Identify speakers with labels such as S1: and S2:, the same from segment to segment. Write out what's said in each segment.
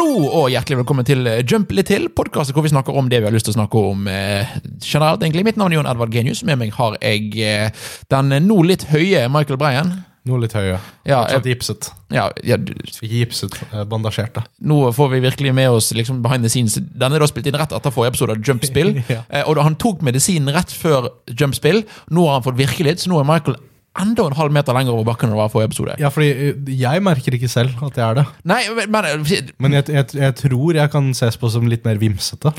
S1: og hjertelig velkommen til eh, Jump litt til, podkastet hvor vi snakker om det vi har lyst til å snakke om eh, generelt. egentlig. Mitt navn er Jon Edvard Genius. Med meg har jeg eh, den nå litt høye Michael Breien.
S2: Noe litt høyere.
S1: Ja,
S2: Fortsatt
S1: jeg-
S2: gipset.
S1: Ja, ja, du-
S2: Ikke gipset, eh, bandasjert. da.
S1: nå får vi virkelig med oss liksom behind the scenes. Denne er da spilt inn rett etter forrige episode av Jump-spill.
S2: Ja.
S1: eh, og da Han tok medisinen rett før Jump-spill. Nå har han fått virke litt, så nå er Michael enda en halv meter lenger over bakken enn det var forrige episode.
S2: Ja, fordi eh, jeg merker ikke selv at jeg er det.
S1: Nei, men, eh, men
S2: Men jeg, jeg, jeg tror jeg kan ses på som litt mer vimsete.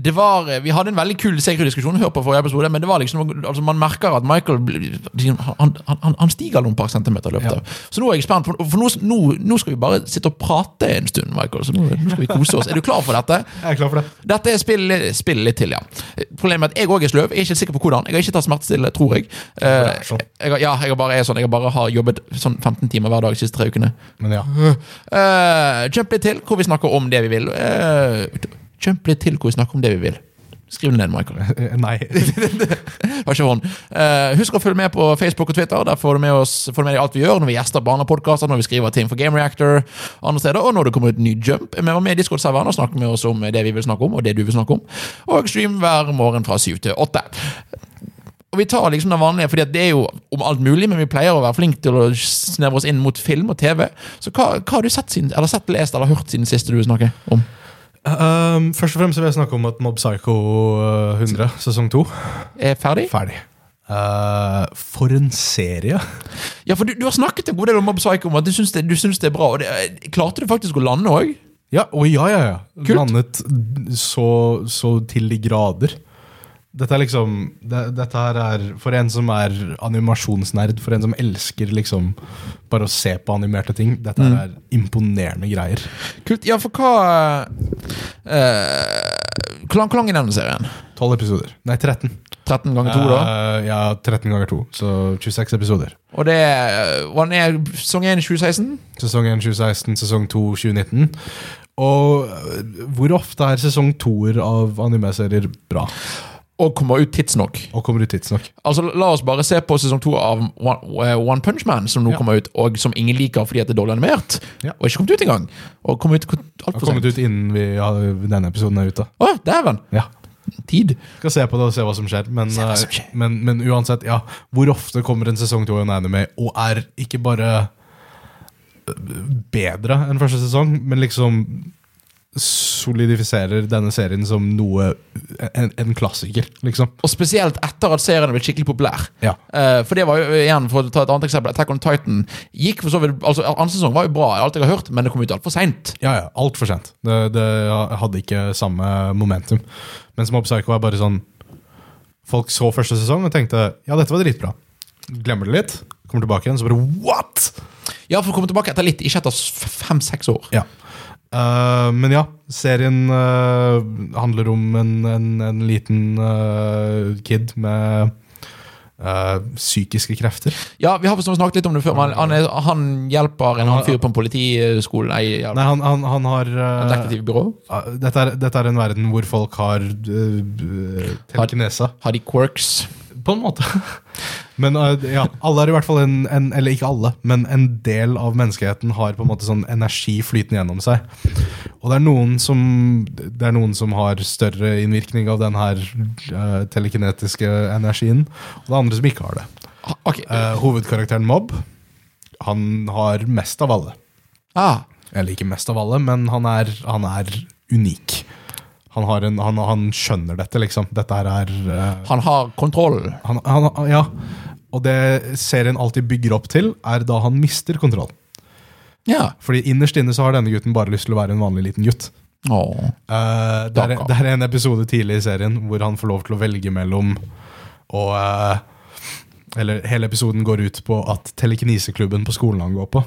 S1: det var, eh, Vi hadde en veldig kul sekrediskusjon, hør på forrige episode, men det var liksom, altså man merker at Michael blir- han, han, han stiger noen par centimeter i løpet av. Så nå er jeg spent, for, for nå, nå, nå skal vi bare sitte og prate en stund, Michael. Så nå, nå skal vi kose oss. Er du klar for dette?
S2: Jeg er klar for det.
S1: Dette er spill, spill litt til, ja. Problemet er at jeg òg er sløv. Jeg er ikke helt sikker på hvordan. Jeg har ikke tatt smertestillende, tror jeg. Eh,
S2: det er sånn.
S1: jeg, har- ja, jeg har bare er sånn Jeg har bare har jobbet sånn 15 timer hver dag de siste tre ukene.
S2: Men ja.
S1: Eh, jump litt til, hvor vi snakker om det vi vil. Eh, jump litt til, hvor vi snakker om det vi vil. Skriv det ned, Michael.
S2: Eh, Nei.
S1: Har ikke hånd. Eh, husk å følge med på Facebook og Twitter. Der får du med, oss, får du med deg alt vi gjør når vi gjester barnepodkaster, når vi skriver ting for Game Reactor, andre steder, og når det kommer ut ny jump. Vi var med i Discord-serveren og snakket med oss om det vi vil snakke om, og det du vil snakke om. Og stream hver morgen fra syv til åtte. Og vi tar liksom det vanlige, fordi at det er jo om alt mulig, men vi pleier å være flinke til å snevre oss inn mot film og TV. Så hva, hva har du sett, siden, eller sett, lest eller hørt siden sist du snakket om?
S2: Um, først og fremst vil jeg snakke om at Mob Psycho eh, 100, sesong 2,
S1: Er ferdig?
S2: ferdig. Eh, for en serie!
S1: Ja, for du, du har snakket en god del om Mob Psycho, om at du syns det, du syns det er bra. Og det, klarte du faktisk å lande òg?
S2: Ja, og ja, ja, ja.
S1: Kult.
S2: Landet så, så til de grader. Dette er liksom det, Dette her er for en som er animasjonsnerd, for en som elsker liksom bare å se på animerte ting. Dette her er imponerende greier.
S1: Kult. Ja, for hva eh, Hvor lang hvor lang er denne serien?
S2: Tolv episoder. Nei, 13.
S1: 13 ganger 2, da?
S2: Eh, ja, 13 ganger 2, så 26 episoder.
S1: Og det er- og den er sesong 1 i 2016?
S2: Sesong 1 2016, sesong 2 2019. Og eh, hvor ofte er sesong 2-er av animeserier bra?
S1: Og kommer ut tidsnok.
S2: Og kommer ut tidsnok?
S1: Altså, La oss bare se på sesong 2 av One, eh, One Punch Man, som nå
S2: Ja.
S1: kommer ut, og som ingen liker fordi at det er dårlig animert.
S2: Ja.
S1: Og ikke kommet ut engang. Og kom ut
S2: Har
S1: altfor
S2: kommet
S1: sent.
S2: ut innen vi har, denne episoden er ute.
S1: Å, dæven!
S2: Ja.
S1: Tid.
S2: Skal se på det og se hva som skjer. Men,
S1: Se hva som skjer.
S2: eh, men, men uansett, ja. Hvor ofte kommer en sesong to i en anime og er ikke bare eh, bedre enn første sesong, men liksom solidifiserer denne serien som noe En, en klassiker, liksom.
S1: Og spesielt etter at serien er blitt skikkelig populær.
S2: Ja.
S1: Eh, for det var jo igjen, for å ta et annet eksempel, Attack on Titan gikk for så vidt altså Annen sesong var jo bra, alt jeg har hørt, men det kom ut altfor seint.
S2: Ja, ja. Altfor sent. Det, det hadde ikke samme momentum. Mens Mob Psycho er bare sånn Folk så første sesong og tenkte ja, dette var dritbra. Glemmer det litt, kommer tilbake igjen, så bare what?!
S1: Ja, for å komme tilbake etter litt, ikke etter fem-seks år.
S2: Ja. Eh, men ja, serien eh, handler om en, en, en liten eh, kid med eh, psykiske krefter.
S1: Ja, vi har forstått snakket litt om det før, men han, er, han hjelper en annen fyr på en politiskole Nei, ja,
S2: Nei, han, han, han har
S1: et
S2: eh,
S1: detektivbyrå.
S2: eh, dette, er, dette er en verden hvor folk har uh, telekinesa.
S1: Har de quirks?
S2: På en måte. Men eh, ja, alle er i hvert fall en, en Eller ikke alle, men en del av menneskeheten har på en måte sånn energi flytende gjennom seg. Og det er noen som, det er noen som har større innvirkning av den her eh, telekinetiske energien, og det er andre som ikke har det.
S1: Ah, Ok.
S2: Eh, hovedkarakteren Mobb, han har mest av alle.
S1: Ah,
S2: Eller ikke mest av alle, men han er, han er unik. Han, har en, han, han skjønner dette, liksom. Dette her er eh,
S1: han har kontroll.
S2: han, han, ja. Og det serien alltid bygger opp til, er da han mister kontroll.
S1: Ja.
S2: Fordi innerst inne så har denne gutten bare lyst til å være en vanlig liten gutt.
S1: Åh.
S2: Eh, det, er,
S1: Takk.
S2: det er en episode tidlig i serien hvor han får lov til å velge mellom og eh, Eller hele episoden går ut på at telekineseklubben på skolen han går på,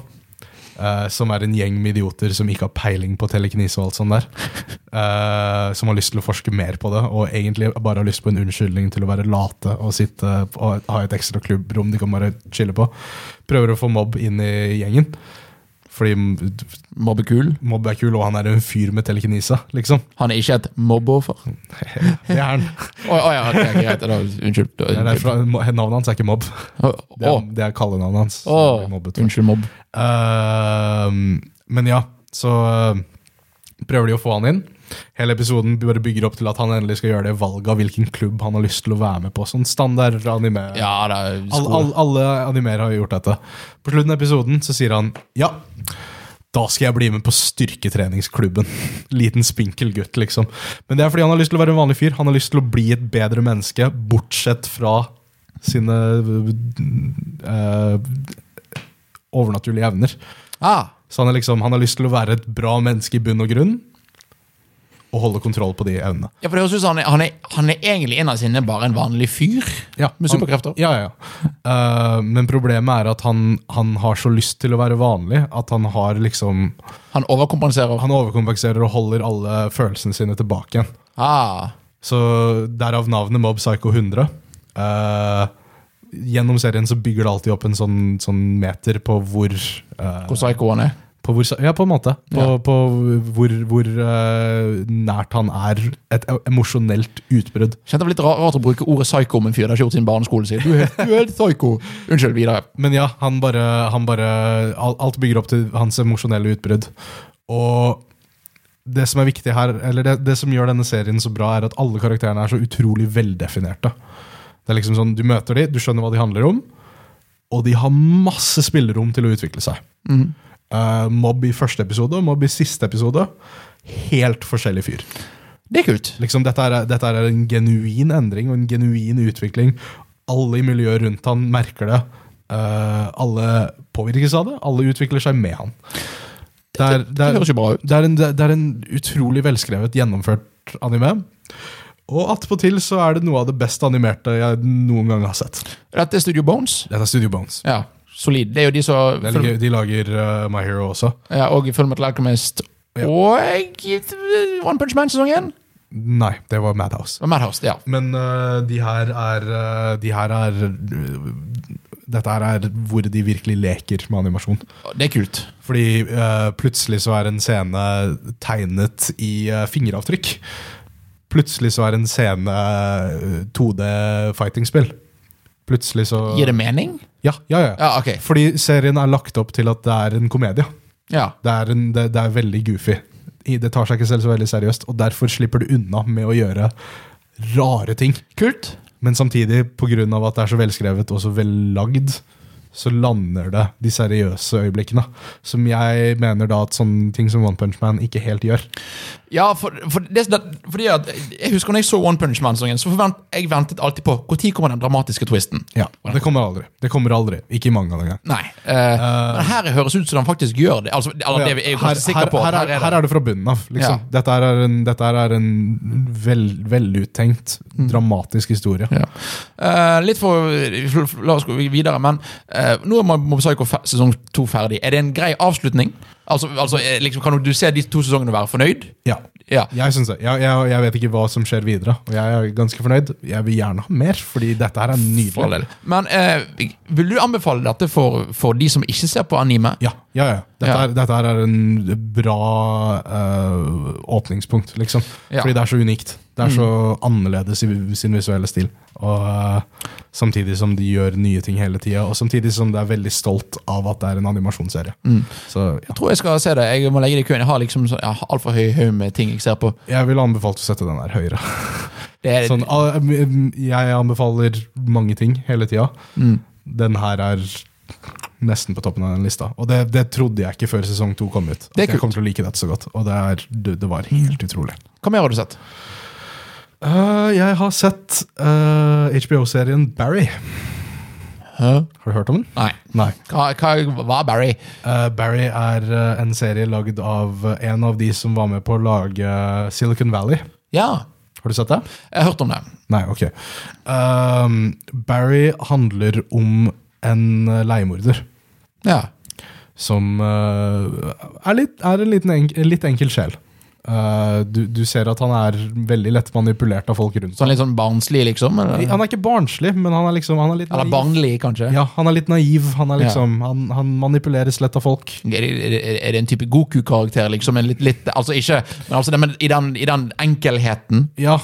S2: eh, som er en gjeng med idioter som ikke har peiling på telekinese og alt sånt der, eh, som har lyst til å forske mer på det, og egentlig bare har lyst på en unnskyldning til å være late og sitte og ha et ekstra klubbrom de kan bare chille på. Prøver å få mobb inn i gjengen. Fordi
S1: Mobbekul.
S2: mobb er kul, og han er en fyr med telekinese, liksom.
S1: Han er ikke et mobbeoffer. Å
S2: Det er han.
S1: å ja, ok, greit. Da, unnskyld. Da,
S2: Det er
S1: unnskyld.
S2: derfor Navnet hans er ikke mobb.
S1: Å,
S2: Det er,
S1: å,
S2: det er kallenavnet hans. som
S1: å,
S2: han blir mobbet for.
S1: unnskyld, mobb.
S2: Ehm, men ja, så eh, prøver de å få han inn. Hele episoden bare bygger opp til at han endelig skal gjøre det valget av hvilken klubb han har lyst til å være med på. Sånn standard anime.
S1: Ja, det er
S2: Alle-
S1: skole.
S2: alle- alle animer har gjort dette. På slutten av episoden så sier han ja. Da skal jeg bli med på styrketreningsklubben. Liten spinkel gutt, liksom. Men det er fordi han har lyst til å være en vanlig fyr. Han har lyst til å bli et bedre menneske, bortsett fra sine eh, overnaturlige evner.
S1: Ah,
S2: Så han, er liksom, han har lyst til å være et bra menneske i bunn og grunn, og holde kontroll på de evnene.
S1: ja, for det høres ut som han er, han er, han er egentlig innad sinne bare en vanlig fyr
S2: Ja,
S1: med
S2: han-
S1: superkrefter.
S2: Ja, ja, ja. Eh, men problemet er at han, han har så lyst til å være vanlig at han har liksom
S1: Han overkompenserer.
S2: Han overkompenserer og holder alle følelsene sine tilbake igjen.
S1: Ah,
S2: Så derav navnet Mob Psycho 100. Eh, gjennom serien så bygger det alltid opp en sånn, sånn meter på hvor eh,
S1: hvor psycho han er.
S2: på hvor, Ja, på en måte. På,
S1: Ja.
S2: på hvor, hvor eh, nært han er et e-, emosjonelt utbrudd.
S1: Kjente det var litt ra- rart å bruke ordet psycho om en fyr det har ikke gjort sin barneskole sin. Du er, du er psycho. Unnskyld, videre.
S2: Men ja, han bare, han bare al- Alt bygger opp til hans emosjonelle utbrudd. Og det som er viktig her, eller det, det som gjør denne serien så bra, er at alle karakterene er så utrolig veldefinerte. Det er liksom sånn, Du møter dem, du skjønner hva de handler om, og de har masse spillerom til å utvikle seg.
S1: Mhm.
S2: Eh, mobb i første episode og mobb i siste episode. Helt forskjellig fyr.
S1: Det er kult.
S2: Liksom, dette, er, dette er en genuin endring og en genuin utvikling. Alle i miljøet rundt han merker det. Eh, alle påvirkes av det. Alle utvikler seg med han. Det er, det
S1: Det
S2: er,
S1: høres jo bra ut.
S2: det er, en, det er en utrolig velskrevet, gjennomført anime. Og attpåtil så er det noe av det best animerte jeg noen gang har sett.
S1: Dette er Studio Bones.
S2: Dette er Studio Bones.
S1: Ja, solid. Det er jo de som
S2: Det er litt gøy. De lager eh, My Hero også.
S1: ja, Og Full Metal Alchemist
S2: Ja.
S1: og One Punch Man-sesongen.
S2: Nei, det var Madhouse.
S1: Og Madhouse, ja.
S2: Men øh, de her er øh, De her er øh, Dette her er hvor de virkelig leker med animasjon.
S1: Det er kult.
S2: Fordi øh, plutselig så er en scene tegnet i øh, fingeravtrykk. Plutselig så er en scene øh, 2D fighting-spill. Plutselig så
S1: Gir det mening?
S2: Ja, ja, ja.
S1: Ja, ok.
S2: Fordi serien er lagt opp til at det er en komedie.
S1: Ja.
S2: Det er, en, det, det er veldig goofy. I- Det tar seg ikke selv så veldig seriøst, og derfor slipper du unna med å gjøre rare ting.
S1: Kult.
S2: Men samtidig, pga. at det er så velskrevet og så vellagd, så lander det de seriøse øyeblikkene. Som jeg mener da at sånne ting som One Punch Man ikke helt gjør.
S1: Ja, for, for det, det, fordi at jeg husker når jeg så One Punch Man-sesongen, så forvent, jeg ventet alltid på når kommer den dramatiske twisten.
S2: Ja, Det kommer aldri. Det kommer aldri. Ikke i mangaen engang.
S1: Nei. eh, men her høres ut som den faktisk gjør det. Altså, eller, det er vi- jeg er jo
S2: her,
S1: ganske sikker på.
S2: her,
S1: at
S2: her, er, her
S1: det.
S2: er det fra bunnen av.
S1: Ja.
S2: Liksom. Dette her er en, dette her er en vel, veluttenkt,
S1: Mm.
S2: dramatisk historie.
S1: Ja. Eh, litt for La oss gå videre, men eh, nå er Mob Psycho fe- sesong to ferdig. Er det en grei avslutning? Altså, altså eh, liksom, Kan du se de to sesongene og være fornøyd?
S2: Ja.
S1: Ja.
S2: Jeg, synes det. Jeg, jeg, jeg vet ikke hva som skjer videre, og jeg er ganske fornøyd. Jeg vil gjerne ha mer, fordi dette her er
S1: For all
S2: nydelig.
S1: del. Men eh, vil du anbefale dette for, for de som ikke ser på anime?
S2: Ja, ja, ja. Dette,
S1: Ja.
S2: Er, dette her er en bra eh, åpningspunkt, liksom.
S1: Ja. Mm.
S2: Fordi det er så unikt. Det er så annerledes i sin visuelle stil. Og eh, Samtidig som de gjør nye ting hele tida, og samtidig som det er veldig stolt av at det er en animasjonsserie.
S1: Mm.
S2: Så ja.
S1: Jeg tror jeg skal se det. Jeg må legge det i køen. Jeg har liksom så, jeg har altfor høy haug med ting jeg ser på.
S2: Jeg ville anbefalt å sette den her høyere.
S1: Det er,
S2: Sånn, ah, mm, mm, jeg anbefaler mange ting hele tida. Den her er nesten på toppen av den lista. Og det, det trodde jeg ikke før sesong to kom ut.
S1: Det er
S2: At jeg
S1: kult.
S2: kom til å like dette så godt. Og det, er, det, det var helt utrolig.
S1: Hva mer har du sett?
S2: Eh, jeg har sett eh, HBO-serien Barry.
S1: Hæ?
S2: Har du hørt om den?
S1: Nei.
S2: Nei.
S1: Hva, hva var Barry?
S2: Eh, Barry er eh, en serie lagd av eh, en av de som var med på å lage Silicon Valley.
S1: Ja,
S2: Har du sett det?
S1: jeg har hørt om det.
S2: Nei, ok. Ehm, Barry handler om en eh, leiemorder
S1: Ja.
S2: som eh, er, litt, er en liten enk, en litt enkel sjel. Eh, du, du ser at han er veldig lett manipulert av folk rundt seg.
S1: Sånn litt sånn barnslig, liksom? Eller,
S2: Han er ikke barnslig, men han er liksom han er litt
S1: eller
S2: naiv.
S1: barnlig, kanskje?
S2: Ja, han er litt naiv. Han, er liksom, han, han manipuleres lett av folk.
S1: Er det, er det- er det en type Goku-karakter, liksom? En litt, litt, altså ikke, men, altså det, men i, den, i den enkelheten?
S2: Ja,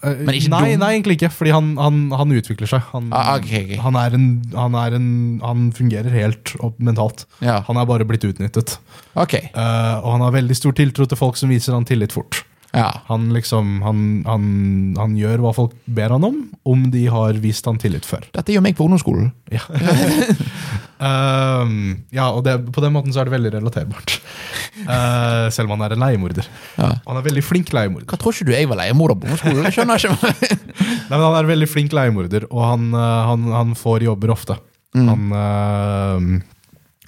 S2: Eh,
S1: Men ikke
S2: nei,
S1: dum?
S2: nei, egentlig ikke, fordi han, han, han utvikler seg. Han,
S1: Ah, ok, ok.
S2: Han, er en, han, er en, han fungerer helt opp mentalt.
S1: Ja,
S2: Han er bare blitt utnyttet.
S1: ok.
S2: Eh, og han har veldig stor tiltro til folk som viser han tillit fort.
S1: Ja.
S2: Han, liksom, han, han, han gjør hva folk ber han om, om de har vist han tillit før.
S1: Dette gjør meg på ungdomsskolen.
S2: Ja, Ehm, ja og det, på den måten så er det veldig relaterbart. Eh, selv om han er en leiemorder.
S1: Ja.
S2: Og Han er veldig flink leiemorder.
S1: Hva tror ikke du jeg var leiemorder på ungdomsskolen? Jeg skjønner ikke.
S2: Nei, men han er veldig flink leiemorder, og han, eh, han, han får jobber ofte. Han, eh,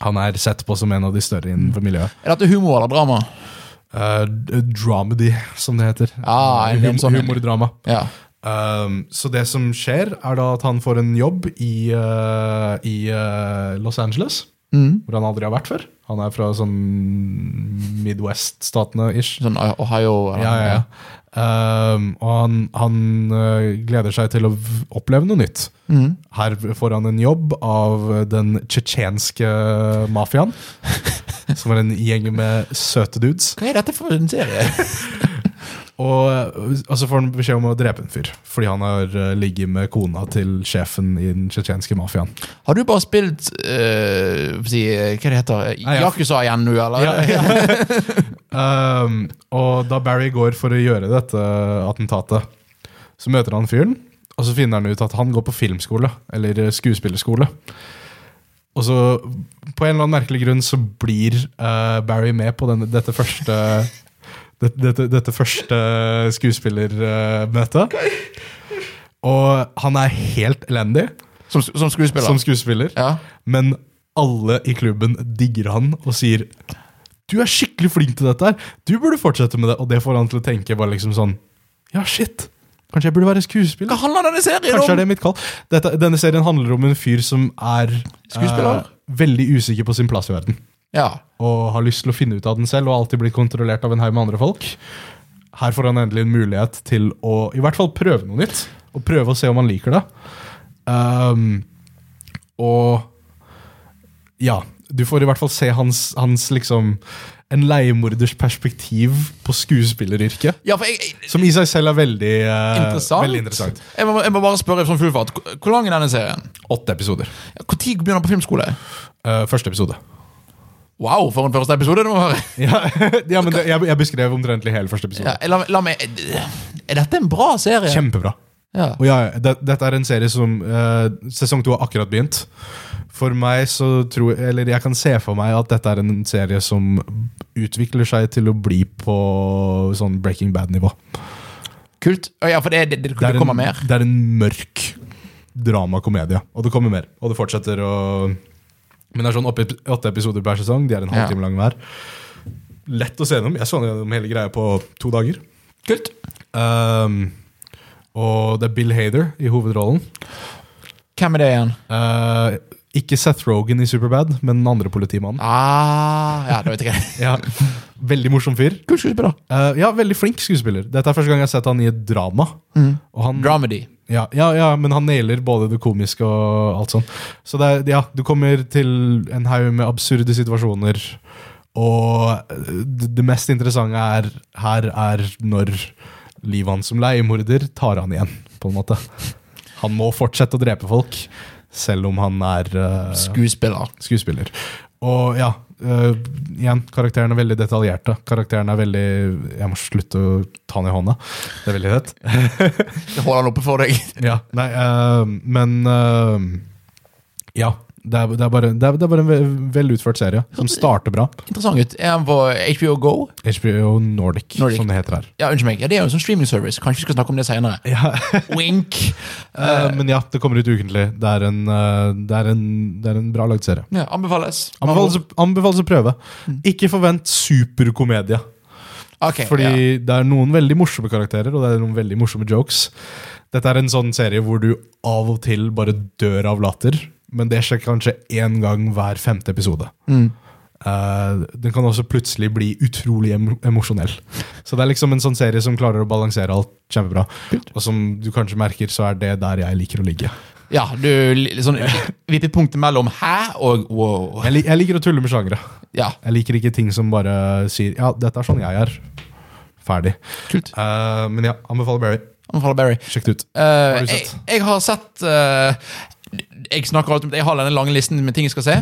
S2: han er sett på som en av de større innenfor miljøet.
S1: Er dette humor eller drama?
S2: Mm. Eh, d- dramedy, som det heter.
S1: Ah, en
S2: Hum-
S1: sånn en.
S2: Humordrama.
S1: Ja.
S2: Um, så det som skjer, er da at han får en jobb i, eh, i eh, Los Angeles.
S1: Mm.
S2: Hvor han aldri har vært før. Han er fra sånn Midwest-statene-ish.
S1: Sånn Ohio eller
S2: Ja, ja, ja. Um, og han, han eh, gleder seg til å v- oppleve noe nytt.
S1: Mm.
S2: Her får han en jobb av den tsjetsjenske mafiaen. Som er en gjeng med søte dudes.
S1: Hva er dette for en serie?
S2: Og eh, og så får han beskjed om å drepe en fyr, fordi han har eh, ligget med kona til sjefen i den tsjetsjenske mafiaen.
S1: Har du bare spilt eh, hva si, Hva det heter
S2: Nei, ja.
S1: Yakuza igjen nå, eller?
S2: um, og da Barry går for å gjøre dette attentatet, så møter han fyren. Og så finner han ut at han går på filmskole, eller skuespillerskole. Og så, på en eller annen merkelig grunn, så blir eh, Barry med på denne, dette første dette, dette, dette første skuespillermøtet. Og han er helt elendig
S1: Som, som skuespiller?
S2: som skuespiller.
S1: ja.
S2: Men alle i klubben digger han og sier Du er skikkelig flink til dette her. Du burde fortsette med det. Og det får han til å tenke bare liksom sånn Ja, shit. Kanskje jeg burde være
S1: Hva
S2: skuespiller?
S1: handler denne serien om?
S2: Kanskje er det mitt kall. Dette, denne serien handler om en fyr som er
S1: Skuespiller?
S2: eh, veldig usikker på sin plass i verden.
S1: Ja.
S2: Og har lyst til å finne ut av den selv, og har alltid blitt kontrollert av en haug med andre folk. Her får han endelig en mulighet til å i hvert fall prøve noe nytt. Og prøve å se om han liker det. Ehm, og ja, du får i hvert fall se hans, hans liksom en leiemorders perspektiv på skuespilleryrket.
S1: ja, for jeg, jeg,
S2: Som i seg selv er veldig eh,
S1: interessant.
S2: Veldig interessant.
S1: Jeg, må, jeg må bare spørre som full fart. Hvor- Hvor lang er denne serien?
S2: Åtte episoder.
S1: Når begynner han på filmskole?
S2: Eh, første episode.
S1: Wow, for en første episode! det må være
S2: Ja, ja men det, jeg, jeg beskrev omtrentlig hele første episode.
S1: ja, la, la meg Er dette en bra serie?
S2: Kjempebra.
S1: ja.
S2: Og ja, ja, det, dette er en serie som eh, Sesong to har akkurat begynt. For meg så tror jeg Eller jeg kan se for meg at dette er en serie som utvikler seg til å bli på sånn Breaking Bad-nivå.
S1: Kult. Å ja, for det, det, det, det
S2: er
S1: kommer
S2: en,
S1: mer.
S2: det er en mørk dramakomedie. Og det kommer mer. Og det fortsetter å Men det er sånn oppe, åtte episoder per sesong. De er en
S1: Ja.
S2: halvtime lang hver. Lett å se gjennom. Jeg så gjennom hele greia på to dager.
S1: Kult.
S2: Ehm, og det er Bill Hader i hovedrollen.
S1: Hvem er det igjen?
S2: Eh, ikke Seth Rogen i Superbad, men den andre politimannen.
S1: Ah, ja, det vet jeg ikke.
S2: Ja. Veldig morsom fyr.
S1: Kult skuespiller.
S2: Eh, ja, veldig flink skuespiller. Dette er første gang jeg har sett han i et drama. Og han,
S1: Mm. Dramedy.
S2: ja, ja, ja, men han nailer både det komiske og alt sånt. Så det er, ja, du kommer til en haug med absurde situasjoner. Og eh, det det mest interessante er, her er når livet hans som leiemorder tar han igjen, på en måte. Han må fortsette å drepe folk, selv om han er eh,
S1: Skuespiller.
S2: skuespiller. Og ja, eh, igjen, karakterene er veldig detaljerte. Karakterene er veldig Jeg må slutte å ta den i hånda. Det er veldig tett.
S1: Jeg holder han oppe for deg.
S2: Ja, nei, eh, men eh, Ja. Det er, det, er bare, det, er, det er bare en ve- velutført serie som starter bra.
S1: Interessant ut. Er han på HBO Go?
S2: HBO Nordic,
S1: Nordic.
S2: som det heter her.
S1: Ja, unnskyld meg. Ja, det er jo en sånn streaming service. Kanskje vi skal snakke om det senere.
S2: Ja,
S1: Wink!
S2: eh, men ja, det kommer ut ukentlig. Det er en, eh, det er en, det er en bra lagd serie.
S1: Ja, anbefales.
S2: Anbefales, anbefales å prøve. Ikke forvent superkomedie.
S1: Ok,
S2: Fordi
S1: ja.
S2: det er noen veldig morsomme karakterer og det er noen veldig morsomme jokes. Dette er en sånn serie hvor du av og til bare dør av latter, men det skjer kanskje én gang hver femte episode. Eh, den kan også plutselig bli utrolig em emosjonell. Så det er liksom en sånn serie som klarer å balansere alt kjempebra. Og som du kanskje merker, så er det der jeg liker å ligge.
S1: ja, du li- sånn, Vippepunktet mellom 'hæ' og 'wow'.
S2: Jeg, lik- jeg liker å tulle med sjangere.
S1: Ja,
S2: Jeg liker ikke ting som bare sier 'ja, dette er sånn jeg er'. Ferdig.
S1: kult.
S2: Eh, men ja, anbefaler Barry.
S1: Anbefaler Barry.
S2: Sjekk det ut.
S1: Eh, jeg,
S2: du sett?
S1: jeg har sett eh, Jeg snakker alltid om Jeg har denne lange listen med ting jeg skal se,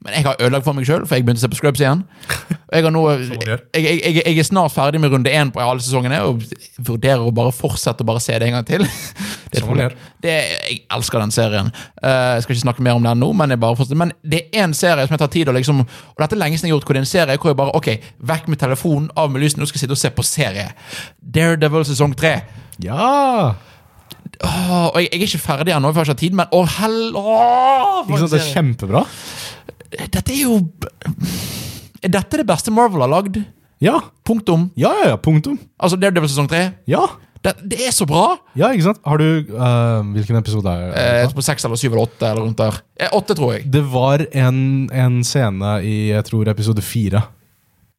S1: men jeg har ødelagt for meg sjøl, for jeg begynte å se på Scrubs igjen. Og jeg, har nå,
S2: man
S1: jeg,
S2: gjør.
S1: jeg, jeg, jeg er snart ferdig med runde én på alle sesongene og vurderer å bare fortsette å bare se det en gang til. Det er et
S2: Som man
S1: problem.
S2: gjør.
S1: Det, jeg elsker den serien. Eh, jeg skal ikke snakke mer om den nå, men, jeg bare fortsetter. men det er en serie som jeg tar tid å liksom Og dette er lenge siden jeg har gjort hvor det er en serie hvor jeg bare Ok, vekk med telefonen, av med lysen, nå skal jeg sitte og se på serie. Daredevil sesong tre.
S2: Ja!
S1: Åh, og jeg, jeg er ikke ferdig ennå, for jeg har ikke hatt tid, men åh, hell... Åh, for
S2: Ikke
S1: en
S2: sant, det er
S1: serie.
S2: kjempebra.
S1: Dette er jo Er dette det beste Marvel har lagd?
S2: Ja,
S1: Punktum.
S2: ja, ja, ja punktum.
S1: Altså, Daredevil sesong tre.
S2: Ja,
S1: Det, det er så bra!
S2: ja, ikke sant? Har du eh, Hvilken episode er det?
S1: Eh, på seks eller syv eller åtte eller rundt der. Eh, åtte, tror jeg.
S2: Det var en, en scene i jeg tror episode fire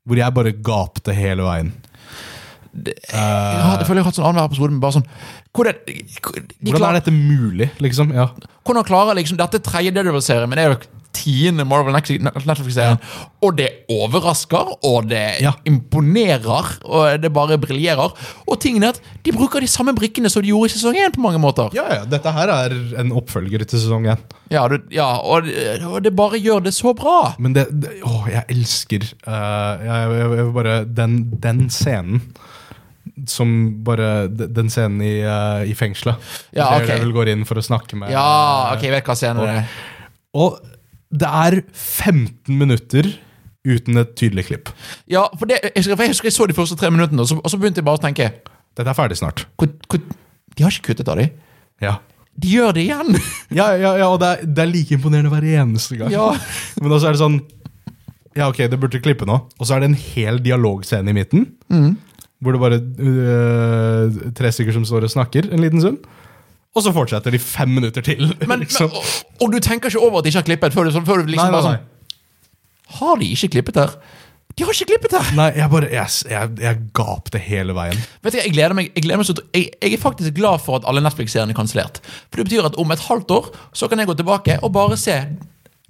S2: hvor jeg bare gapte hele veien. Eh.
S1: Jeg har- jeg føler jeg har hatt sånn annenhver episode med bare sånn Hvordan, de
S2: Hvordan
S1: klarer,
S2: er dette mulig, liksom? Ja.
S1: hvordan klarer liksom Dette er tredje Daredevil-serien, men det er jo tiende Marvel Netflix- Netflix-serien. Og det overrasker, og det
S2: Ja.
S1: imponerer, og det bare briljerer. Og tingen er at de bruker de samme brikkene som de gjorde i sesong én, på mange måter.
S2: ja, ja. Dette her er en oppfølger til sesong én.
S1: Ja, du, ja og, og det bare gjør det så bra.
S2: Men det, det Å, jeg elsker eh, jeg, jeg, jeg vil bare den, den scenen som bare de- Den scenen i, eh, i fengselet.
S1: Ja, ok.
S2: Der Daredevil går inn for å snakke med
S1: Ja, ok, jeg vet hva scenen er.
S2: Og det er 15 minutter uten et tydelig klipp.
S1: Ja, for, det, jeg, husker, for jeg husker jeg så de første tre minuttene, og så, og så begynte jeg bare å tenke
S2: Dette er ferdig snart.
S1: hvor, hvor, De har ikke kuttet av de.
S2: Ja.
S1: De gjør det igjen!
S2: Ja, ja, ja og det er, det er like imponerende hver eneste gang.
S1: Ja.
S2: Men også er det sånn Ja, ok, det burde klippe nå. Og så er det en hel dialogscene i midten. Hvor det bare øh, tre stykker som står og snakker en liten stund. Og så fortsetter de fem minutter til.
S1: Men,
S2: liksom.
S1: men, og, og du tenker ikke over at de ikke har klippet før du, før du liksom
S2: nei, nei,
S1: bare
S2: nei.
S1: sånn Har de ikke klippet her? De har ikke klippet her!
S2: nei, jeg bare Jeg, jeg, jeg gapte hele veien.
S1: Vet du, hva, jeg gleder meg, jeg, gleder meg så, ut- jeg, jeg er faktisk glad for at alle Netflix-seriene er kansellert. For det betyr at om et halvt år så kan jeg gå tilbake og bare se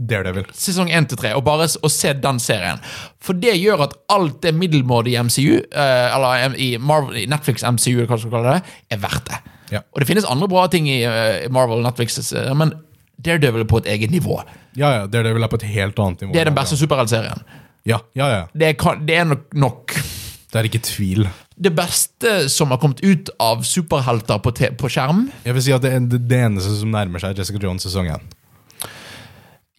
S2: Daredevil.
S1: sesong 1 til 3 og bare s- og se den serien. For det gjør at alt det middelmådige i MCU, eh, eller em- i Marvel, i Netflix MCU, eller hva du skal kalle det, er verdt det.
S2: Ja.
S1: Og det finnes andre bra ting i eh, Marvel og Netflix, eh, men Daredevil er på et eget nivå.
S2: Ja, ja, Daredevil er på et helt annet nivå.
S1: Det er den beste superheltserien.
S2: Ja, ja, ja.
S1: Det, kan- det er nok, nok
S2: Det er ikke tvil.
S1: det beste som har kommet ut av superhelter på, te- på skjerm.
S2: Jeg vil si at det, er det eneste som nærmer seg Jessica Jones sesong én.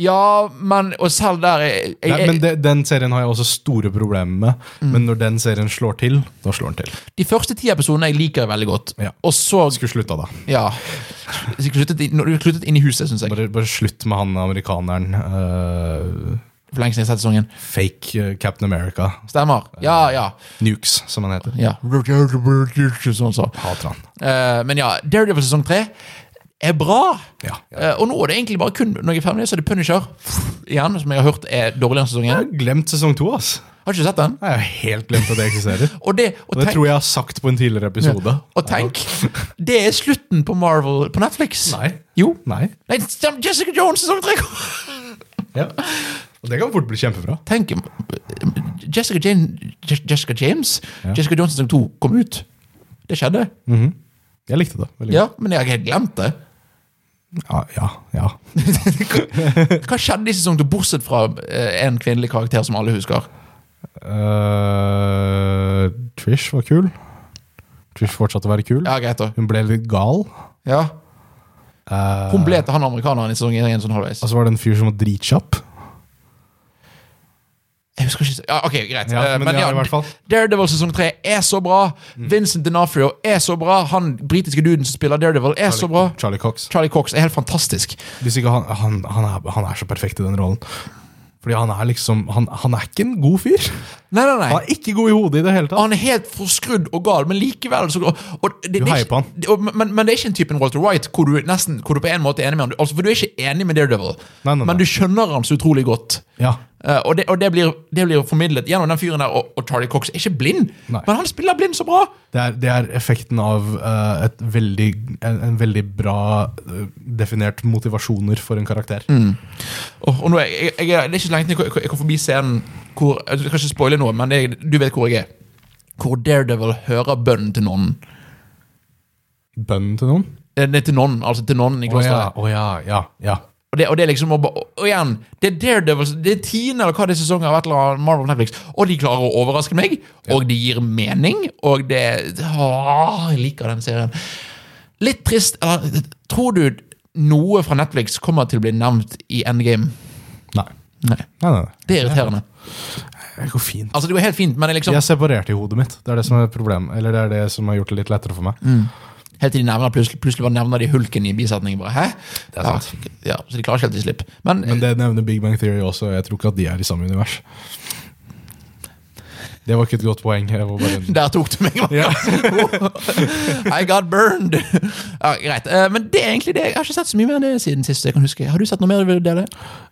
S1: Ja, men Og selv der jeg, jeg, Mm.
S2: Nei, men det, Den serien har jeg også store problemer med, men når den serien slår til, da slår den til.
S1: De første ti episodene jeg liker veldig godt.
S2: Ja.
S1: Og så
S2: Skulle slutta, da.
S1: Ja. Så jeg Sluttet, inn- når du sluttet inn i huset, syns jeg.
S2: Bare, bare slutt med han amerikaneren. eh,
S1: For lenge siden jeg har sett sesongen.
S2: fake eh, Captain America.
S1: Stemmer. Ja, ja.
S2: Nukes, som han heter.
S1: ja. Sånn, så.
S2: Hater han.
S1: Eh, men ja, Daredevil sesong tre er bra.
S2: Ja. Jeg
S1: Eh, og nå er det egentlig bare kun når jeg er ferdig, så er det Punisher igjen, som jeg har hørt er dårligere enn sesong én.
S2: har glemt sesong to, ass.
S1: Har ikke sett den.
S2: Jeg har helt glemt at det eksisterer.
S1: Og det, og
S2: Og det
S1: tenk,
S2: tror jeg jeg har sagt på en tidligere episode.
S1: og tenk det er slutten på Marvel på Netflix.
S2: Nei.
S1: Jo.
S2: Nei.
S1: Nei, stem- Jessica Jones sesong tre kommer!
S2: Ja. Og det kan fort bli kjempebra.
S1: Tenk Jessica, Jane, Je- Jessica James
S2: Ja.
S1: Jessica Jones sesong to kom ut. Det skjedde.
S2: Jeg likte det. veldig
S1: Ja, men jeg har helt glemt det.
S2: godt. Ja, ja, ja.
S1: Hva skjedde i sesong to, bortsett fra eh, en kvinnelig karakter som alle husker?
S2: Eh, Trish var kul. Trish fortsatte å være kul.
S1: Ja, greit da.
S2: Hun ble litt gal.
S1: Ja.
S2: Eh,
S1: Hun ble til han amerikaneren i sesong 1 sånn halvveis.
S2: Og så var det en fyr som var dritkjapp.
S1: Jeg husker ikke Ja, ok, greit.
S2: Ja,
S1: Eh,
S2: men ja, i hvert fall. Mm.
S1: Daredevil sesong 3 er så bra. Vincent D'Onofrio er så bra. Han britiske duden som spiller Daredevil, er så bra.
S2: Charlie Cox.
S1: Charlie Cox er helt fantastisk.
S2: Hvis ikke han, han, han, er, han er så perfekt i den rollen. Fordi han er liksom Han, han er ikke en god fyr.
S1: Nei, nei, nei.
S2: Han er ikke god i hodet i det hele tatt.
S1: Han er helt forskrudd og gal, men likevel så og, det, det, er
S2: heier
S1: ikke-
S2: på han.
S1: det- og, men, men det er ikke en typen Walter White hvor du, nesten, hvor du på en måte er enig med han. Du- Altså, for du er ikke enig med Daredevil,
S2: Nei, nei, nei.
S1: men du skjønner han så utrolig godt.
S2: Ja.
S1: Eh, og det, og det, blir, det blir formidlet gjennom den fyren der, og, og Charlie Cox er ikke blind,
S2: Nei.
S1: men han spiller blind så bra!
S2: Det er, det er effekten av eh, et veldig, en, en veldig bra eh, definert motivasjoner for en karakter.
S1: Og, og nå er jeg, jeg, jeg, det er ikke så lenge til jeg, jeg kom forbi scenen hvor Jeg skal ikke spoile noe, men det, du vet hvor jeg er. Hvor Daredevil hører bønnen til nonnen.
S2: bønnen til noen?
S1: Eh, Nei, til nonnen. Altså til nonnen i
S2: Å ja,
S1: klosteret.
S2: å ja, ja, ja.
S1: Og det, og det er liksom å ba- og, og igjen, det er Daredevils, det er tiende eller hva det er sesongen av et eller annet Marvel på Netflix, og de klarer å overraske meg, og de gir mening, og det Åh, Jeg liker den serien. Litt trist eller, Tror du noe fra Netflix kommer til å bli nevnt i Endgame?
S2: Nei.
S1: Nei.
S2: Nei, nei, nei.
S1: Det er irriterende.
S2: Det går fint.
S1: Altså, det går helt fint, men det er liksom
S2: Jeg er separert i hodet mitt. Det er det som er problemet. Eller det er det som har gjort det litt lettere for meg.
S1: Mm. Helt til de nevner plutselig, plutselig bare nevner de hulken i bisetningen. Bare, Hæ?
S2: Det er sant.
S1: Ja, ja, så de klarer ikke helt til slipp. Men,
S2: Men det nevner Big Bang Theory også, og jeg tror ikke at de er i samme univers. Det var ikke et godt poeng. Jeg var bare en...
S1: Der tok du meg!
S2: Ja.
S1: I got burned! ja, greit. Eh, Men det er egentlig det. Jeg har ikke sett så mye mer enn det siden sist. jeg kan huske. Har du sett noe mer? du vil dele?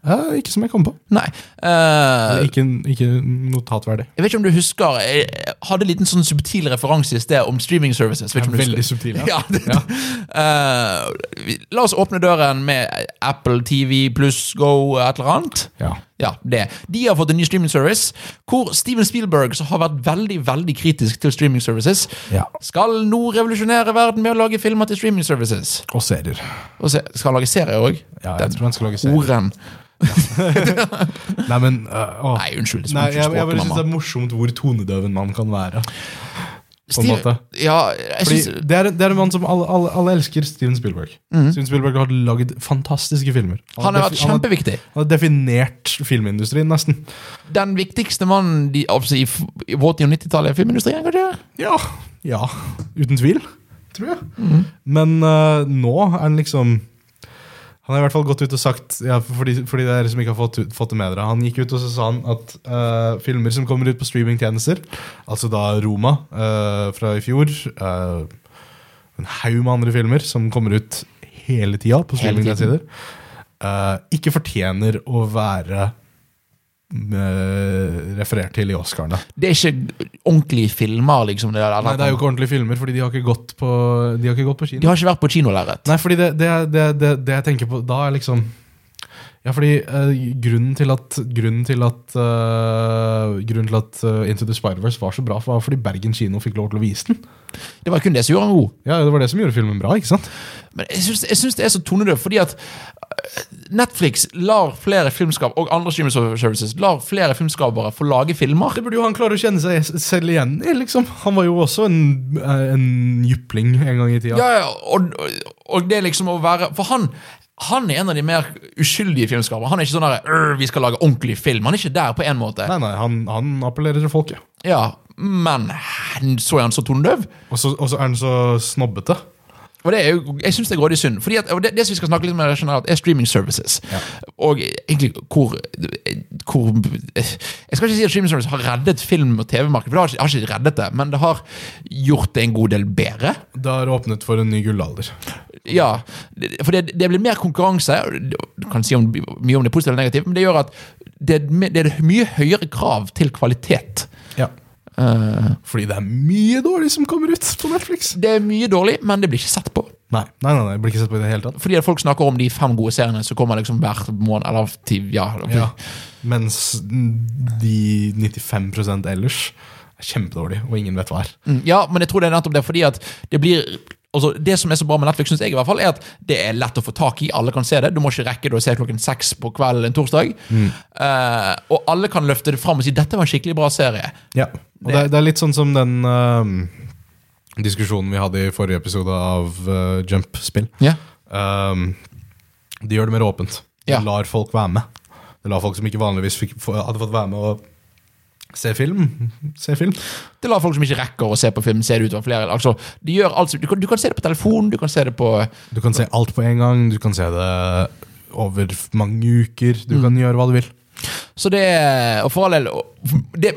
S2: Eh, ikke som jeg kom på.
S1: Nei. Eh,
S2: Ikke, ikke notatverdig.
S1: jeg vet ikke om du husker Jeg hadde en liten sånn subtil referanse i sted om streaming services. Vet ikke om du husker
S2: Veldig
S1: det.
S2: subtil.
S1: Ja,
S2: Ja.
S1: det, Eh, vi- la oss åpne døren med Apple TV pluss Go, et eller annet.
S2: Ja.
S1: Ja, det. De har fått en ny streaming service hvor Steven Spielberg, som har vært veldig veldig kritisk til streaming services,
S2: Ja.
S1: skal nå revolusjonere verden med å lage filmer til streaming services.
S2: Og serier.
S1: Og se, skal han lage serier òg?
S2: Ja, jeg tror han skal lage serier.
S1: Horen.
S2: Nei, men eh, åh.
S1: Nei, unnskyld.
S2: Nei, jeg, jeg bare synes det
S1: språkdrammer.
S2: er morsomt hvor tonedøv en mann kan være. på en
S1: Steven-
S2: måte.
S1: Ja, jeg
S2: Fordi
S1: synes, Mm.
S2: det, er, det er en mann som alle, alle, alle elsker, Steven Spielberg. Steven Spielberg har lagd fantastiske filmer.
S1: han har vært
S2: defi- han har-
S1: kjempeviktig.
S2: Han har definert filmindustrien, nesten.
S1: Den viktigste mannen de, altså, i, f- i 80- og 90-tallet i filmindustrien, kanskje?
S2: Ja. ja. Uten tvil, tror jeg. Men eh, nå er han liksom Han har i hvert fall gått ut og sagt ja, for, de, for de dere som liksom ikke har fått, ut- fått det med dere Han gikk ut og så sa han at eh, filmer som kommer ut på streamingtjenester, altså da Roma eh, fra i fjor eh, En haug med andre filmer som kommer ut hele tida på
S1: Hele tiden.
S2: streamingtjenester, eh, ikke fortjener å være eh, referert til i Oscarene.
S1: Det er ikke ordentlige filmer, liksom. Det, der.
S2: Nei, det er jo ikke ordentlige filmer, fordi de har ikke gått på, de har ikke gått på
S1: De
S2: kino.
S1: har ikke vært på kinolerret.
S2: Nei, fordi det, det, er- det, det, det jeg tenker på da, er liksom Ja, fordi eh, grunnen til at Grunnen til at, eh, grunnen til at eh, Into the Spider-Verse var så bra, var fordi Bergen kino fikk lov til å vise den.
S1: Det var kun det som gjorde han god.
S2: Ja, Det var det som gjorde filmen bra, ikke sant?
S1: Men jeg syns, jeg syns det er så tonedøvt, fordi at eh, Netflix lar flere filmskap og andre streaming services lar flere filmskapere få lage filmer.
S2: Det burde jo han klare å kjenne seg s- selv igjen i, liksom. Han var jo også en, eh, en jypling en gang i tida.
S1: Ja, ja, og, og- og det liksom å være For han, han er en av de mer uskyldige filmskaperne. Han er ikke sånn der, «Øh, vi skal lage ordentlig film. Han er ikke der på en måte.
S2: Nei, nei, han, han appellerer til folket.
S1: Ja, Men så er han så tonedøv.
S2: Og så og så er han så snobbete.
S1: Og det er jo, jeg syns det er grådig synd. Fordi at, og det, det som vi skal snakke litt mer generelt, er streaming services. Og egentlig hvor, hvor Jeg skal ikke si at streaming services har reddet film- og TV-markedet, for det har ikke, har ikke reddet det, men det har gjort det en god del bedre.
S2: Det har åpnet for en ny gullalder.
S1: Ja, det- for det, det blir mer konkurranse. og Du kan si om, mye om det positive eller negative, men det gjør at det, er me- det er mye høyere krav til kvalitet.
S2: Ja.
S1: Eh,
S2: Fordi det er mye dårlig som kommer ut på Netflix.
S1: det er mye dårlig, men det blir ikke sett på.
S2: Nei, nei, nei, nei blir ikke sett på i det hele tatt.
S1: Fordi at folk snakker om de fem gode seriene som kommer liksom hver måned. Eller ti- ja,
S2: Ja. Mens de 95 ellers er kjempedårlige, og ingen vet hva er.
S1: Mm, Ja, men jeg tror det er nettopp det, fordi at det blir Altså, Det som er så bra med Netflix, synes jeg, i hvert fall, er at det er lett å få tak i. Alle kan se det. Du må ikke rekke det å se klokken seks på kvelden en torsdag. Eh, og alle kan løfte det fram og si 'dette var en skikkelig bra serie'.
S2: Ja. Og det, er- det er litt sånn som den øhm, diskusjonen vi hadde i forrige episode av øh, Jump-spill.
S1: Ja.
S2: Øhm, de gjør det mer åpent. De
S1: Ja.
S2: lar folk være med. De lar folk som ikke vanligvis fikk, få- hadde fått være med og se film, se film.
S1: Det lar folk som ikke rekker å se på film, se det utover flere. Altså, de gjør alt, som- du, kan, du kan se det på telefon, du kan se det på
S2: Du kan se alt på en gang, du kan se det over mange uker, du kan gjøre hva du vil.
S1: Så det er- Og for all del, og det er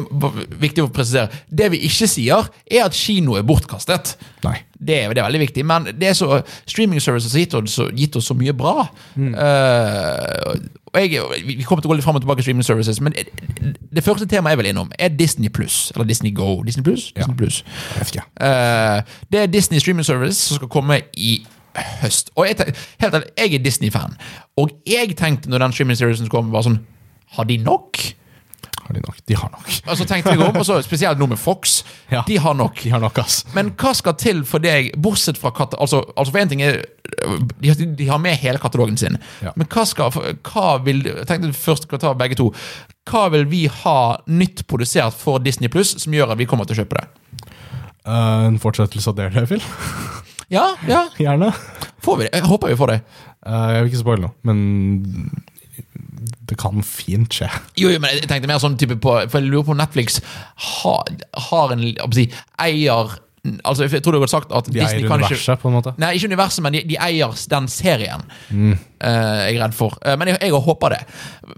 S1: viktig å presisere, det vi ikke sier, er at kino er bortkastet.
S2: Nei.
S1: Det, er- det er veldig viktig, men det er så, streaming services har gitt oss, så- gitt oss så mye bra.
S2: Mm.
S1: Eh, og jeg, vi kommer til å gå litt fram og tilbake i streaming services, men det, det første temaet jeg vil innom, er Disney Pluss. Eller Disney Go. Disney Plus?
S2: Ja.
S1: Disney Plus.
S2: Jeg vet ikke.
S1: Eh, det er Disney Streaming Service som skal komme i høst. Og jeg, tenk- helt ærlig, jeg er Disney-fan, og jeg tenkte når den streaming servicen kom, var sånn Har de nok?
S2: Har har de nok. De har nok.
S1: Altså tenkte jeg om, og så Spesielt nå med Fox.
S2: Ja.
S1: De har nok.
S2: De har nok, ass.
S1: Men hva skal til for deg, bortsett fra kat altså, altså for en ting er De, de har med hele katalogen sin,
S2: Ja.
S1: men hva skal hva vil, Jeg tenkte først å ta begge to. Hva vil vi ha nytt produsert for Disney Pluss som gjør at vi kommer til å kjøpe det?
S2: Eh, en fortsettelse av Daredevil,
S1: Ja, ja,
S2: gjerne.
S1: får vi det? Jeg håper vi får det.
S2: Eh, jeg vil ikke spoile noe, men det kan fint skje.
S1: Jo, jo, men jeg tenkte mer sånn type på For jeg lurer på om Netflix har, har en jeg håper å si, eier Altså, jeg tror du har sagt at
S2: De
S1: Disney
S2: eier
S1: kan ikke
S2: universet, på en måte.
S1: Nei, ikke universet, men de, de eier den serien. eh, jeg er redd for. Eh, men jeg, jeg håper det.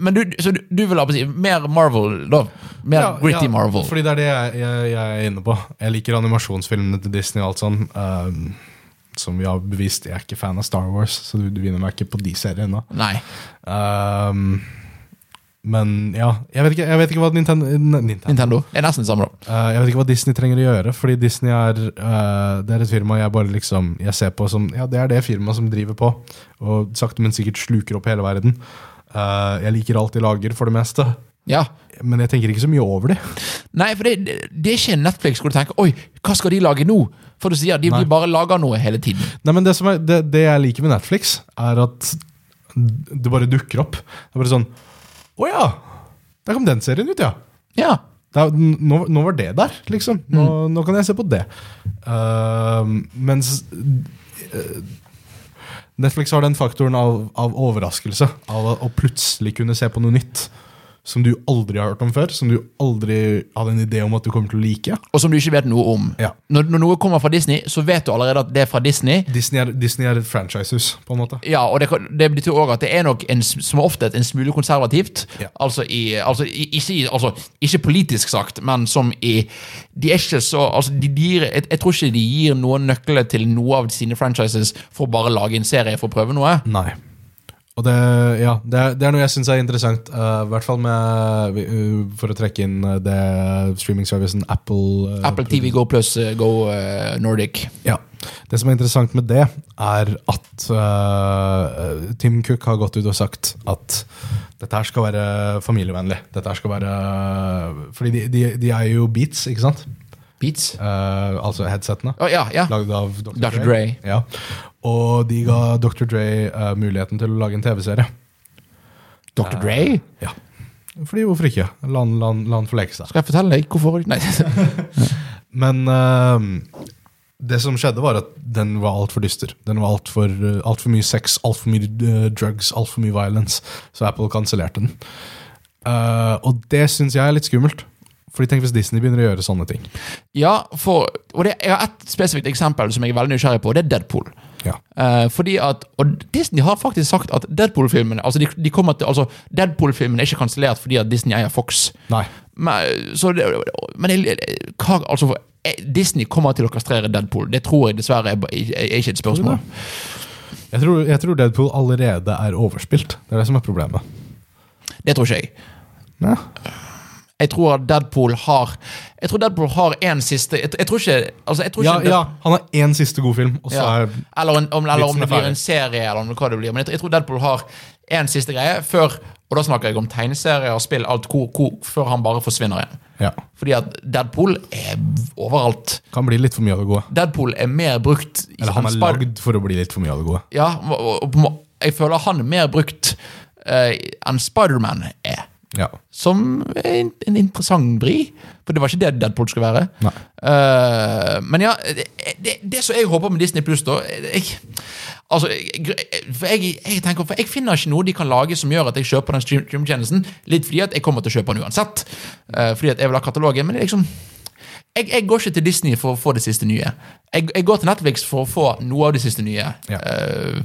S1: Men du, så du, du vil ha på å si mer Marvel, da? Mer gritty Marvel?
S2: Fordi det er det jeg, jeg, jeg er inne på. Jeg liker animasjonsfilmene til Disney og alt sånn. eh, som vi har bevist, jeg er ikke fan av Star Wars, så du, du vinner meg ikke på de seriene.
S1: Nei.
S2: Ehm, men ja, jeg vet ikke, jeg vet ikke hva Nintendo, eh, Nintendo.
S1: Nintendo er nesten det samme, da.
S2: Eh, Jeg vet ikke hva Disney trenger å gjøre, fordi Disney er, eh, det er et firma jeg bare liksom Jeg ser på som Ja, det er det firmaet som driver på, og sakte, men sikkert sluker opp hele verden. Eh, jeg liker alt de lager, for det meste,
S1: Ja.
S2: men jeg tenker ikke så mye over det.
S1: Nei, for det, det- det er ikke Netflix hvor du tenker Oi, hva skal de lage nå? For du sier de,
S2: Nei.
S1: de bare lager noe hele tiden.
S2: Nei, men det, som er, det, det jeg liker med Netflix, er at det bare dukker opp. Det er bare sånn Å ja! Der kom den serien ut, ja.
S1: Ja.
S2: Det er, nå, nå var det der, liksom. Nå, nå kan jeg se på det. Ehm, mens eh, Netflix har den faktoren av, av overraskelse. Av å, å plutselig kunne se på noe nytt som du aldri har hørt om før. Som du aldri hadde en idé om at du kommer til å like.
S1: Og som du ikke vet noe om.
S2: Ja.
S1: Når, når noe kommer fra Disney, så vet du allerede at det er fra Disney.
S2: Disney er, Disney er et franchisehus, på en måte.
S1: Ja, og det, kan- det betyr også at det er nok en, s- som oftest en smule konservativt.
S2: Ja.
S1: Altså, i, altså, i, ikke, i- altså ikke politisk sagt, men som i De er ikke så altså, de gir, jeg, jeg tror ikke de gir noen nøkler til noe av sine franchises for å bare lage en serie for å prøve noe.
S2: Nei. Og det, ja, det, er, det er noe jeg syns er interessant, eh, i hvert fall med, vi- uh, for å trekke inn eh, det streaming-servicen Apple eh,
S1: Apple TV Go pluss eh, Go eh, Nordic.
S2: Ja. Det som er interessant med det, er at eh, Tim Cook har gått ut og sagt at dette her skal være familievennlig. Dette her skal være Fordi de, de, de er jo Beats, ikke sant?
S1: Beats.
S2: Eh, altså headsetene.
S1: Å, ja, ja.
S2: Lagd av Dr.
S1: Dr.
S2: Dre. Ja. Og de ga Dr. Dre eh, muligheten til å lage en TV-serie.
S1: Dr. Dre?
S2: Ja. Fordi hvorfor ikke? La han- La han la han få leke seg.
S1: Skal jeg fortelle deg hvorfor? Nei.
S2: Men eh, det som skjedde, var at den var altfor dyster. Den var altfor uh, alt for mye sex, altfor mye eh, drugs, altfor mye violence. Så Apple kansellerte den. Eh, og det syns jeg er litt skummelt. Fordi Tenk hvis Disney begynner å gjøre sånne ting.
S1: Ja, for, og det, jeg har ett spesifikt eksempel som jeg er veldig nysgjerrig på, og det er Deadpool.
S2: Ja.
S1: Eh, fordi at, og Disney har faktisk sagt at Deadpool-filmene altså de, de kommer til, altså Deadpool-filmene er ikke kansellert fordi at Disney eier Fox.
S2: Nei.
S1: Men, så det, men jeg, hva, altså, Disney kommer til å kastrere Deadpool. Det tror jeg dessverre er, ba- er ikke et spørsmål.
S2: Jeg tror, jeg tror Deadpool allerede er overspilt. Det er det som er problemet.
S1: Det tror ikke jeg.
S2: Ja.
S1: Jeg tror at Deadpool har Jeg tror Deadpool har en siste Jeg, jeg tror ikke, altså, jeg tror ikke
S2: Ja, ja, han har én siste god film, og så
S1: Ja.
S2: er
S1: Eller, en, om, eller om
S2: Vitsen er
S1: det blir
S2: ferdig.
S1: en serie, eller om hva det blir. Men jeg, jeg tror Deadpool har en siste greie før Og da snakker jeg om tegneserier og spill, alt hvor, hvor, før han bare forsvinner igjen.
S2: Ja.
S1: Fordi at Deadpool er overalt.
S2: Kan bli litt for mye av det gode.
S1: Deadpool er mer brukt i-
S2: Eller han er
S1: enn Spider-
S2: lagd for å bli litt for mye av det gode.
S1: Ja, og, og, og på må- jeg føler han er mer brukt eh, enn Spiderman er.
S2: Ja.
S1: Som er en, en interessant vri. For det var ikke det Deadpool skulle være.
S2: Nei.
S1: Eh, men ja, det, det, det som jeg håper med Disney Pluss, da jeg, Altså, jeg, for jeg, jeg tenker For jeg finner ikke noe de kan lage som gjør at jeg kjøper den stream- streamtjenesten. Litt fordi at jeg kommer til å kjøpe den uansett. eh, fordi at jeg vil ha katalogen. Men det er liksom jeg, jeg går ikke til Disney for å få det siste nye. Jeg, jeg går til Netflix for å få noe av det siste nye.
S2: Ja.
S1: Eh,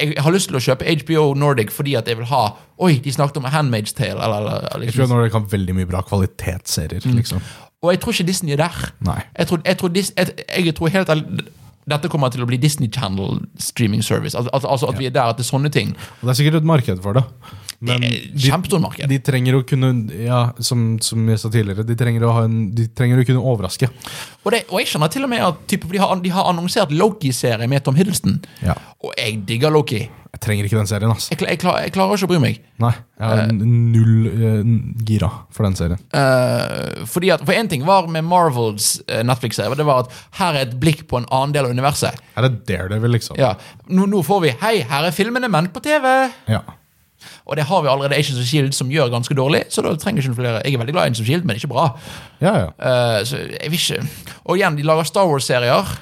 S1: jeg har lyst til å kjøpe HBO Nordic fordi at jeg vil ha Oi, de snakket om Handmaid's Tale. Eller, eller, eller, liksom
S2: Jeg tror Nordic har veldig mye bra kvalitetsserier. liksom.
S1: Og jeg tror ikke Disney er der.
S2: Nei.
S1: Jeg tror, jeg tror, Dis, jeg, jeg tror helt ærlig dette kommer til å bli Disney Channel streaming service. Al, al, altså at vi er der at det er sånne ting.
S2: Og det er sikkert et marked for det. Men
S1: Det er Kjempestort marked.
S2: de trenger å kunne Ja, som, som jeg sa tidligere, de trenger å, ha en, de trenger å kunne overraske.
S1: Og, det, og jeg skjønner til og med at typ, de, har, de har annonsert Loki-serie med Tom Hiddleston.
S2: Ja.
S1: Og jeg digger Loki.
S2: Jeg trenger ikke den serien, altså.
S1: Jeg, kla- jeg, klar, jeg klarer ikke å bry meg.
S2: Nei, jeg har null eh, gira for den serien.
S1: Eh, fordi at, for én ting var med Marvels eh, Netflix-serie, det var at her er et blikk på en annen del av universet.
S2: Her er Daredevil, liksom.
S1: Ja, nå, nå får vi 'Hei, her er filmene, men på TV'.
S2: Ja.
S1: Og det har vi allerede Agents of Shield, E som gjør ganske dårlig. Så da trenger ikke flere Jeg er veldig glad i Agents of Shield, men ikke bra.
S2: ja, ja.
S1: Eh, så jeg vil ikke Og igjen, de lager Star Wars-serier.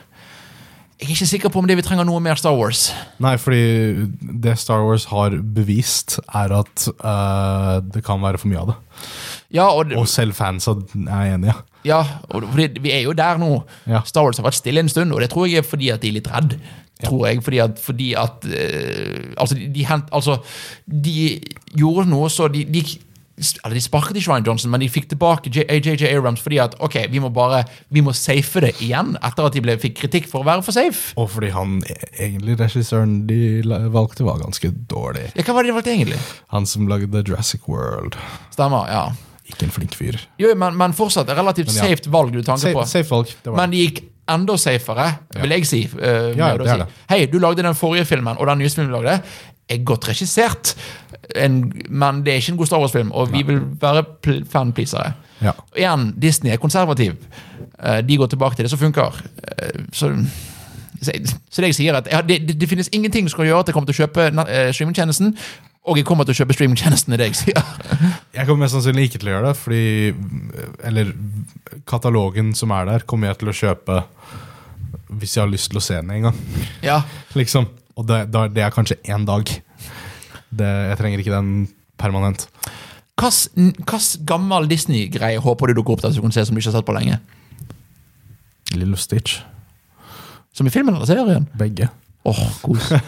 S1: Jeg er ikke sikker på om det vi trenger noe mer Star Wars.
S2: Nei, fordi det Star Wars har bevist, er at eh, det kan være for mye av det.
S1: Ja, og,
S2: Og selv fansa er enige.
S1: ja, og fordi vi er jo der nå.
S2: Ja.
S1: Star Wars har vært stille en stund, og det tror jeg er fordi at de er litt redd. Tror jeg, fordi at, fordi at eh, altså, de, de hent, altså, de gjorde noe så de, de eller De sparket ikke Ryan Johnson, men de fikk tilbake J- JJ Abrams fordi at ok, vi må bare, vi må safe det igjen, etter at de ble, fikk kritikk for å være for safe.
S2: Og fordi han e- egentlig, regissøren de la- valgte, var ganske dårlig.
S1: Ja, Hva var det de valgte egentlig?
S2: Han som lagde Jurassic World.
S1: Stemmer, ja.
S2: Ikke en flink fyr.
S1: Jo, men, men fortsatt et relativt
S2: Men ja.
S1: safe valg du tanker
S2: Safe,
S1: på.
S2: safe valg. Det var.
S1: Men de gikk enda safere, vil jeg si. eh, med
S2: Ja,
S1: å
S2: det er
S1: si,
S2: det.
S1: Hei, du lagde den forrige filmen, og den nye filmen du lagde, er godt regissert, en, men det er ikke en god Star Wars-film, og vi vil være pl- fanpleasere.
S2: Ja.
S1: Og Igjen, Disney er konservativ. Eh, De går tilbake til det som funker. Eh, Så, så jeg- så det jeg sier, er at ja, det, det, det finnes ingenting som skal gjøre at jeg kommer til å kjøpe na- eh, streamingtjenesten, og jeg kommer til å kjøpe streamingtjenesten, er det jeg sier.
S2: Jeg kommer mest sannsynlig ikke til å gjøre det, fordi Eller katalogen som er der, kommer jeg til å kjøpe hvis jeg har lyst til å se den en gang.
S1: Ja,
S2: Liksom. Og det, da- det er kanskje én dag. Det, jeg trenger ikke den permanent.
S1: Hvilken gammel Disney-greie håper du dukker opp der som du kan se som du ikke har sett på lenge?
S2: Lille Stitch.
S1: Som i filmen eller serien?
S2: Begge.
S1: Åh, kos. Jeg,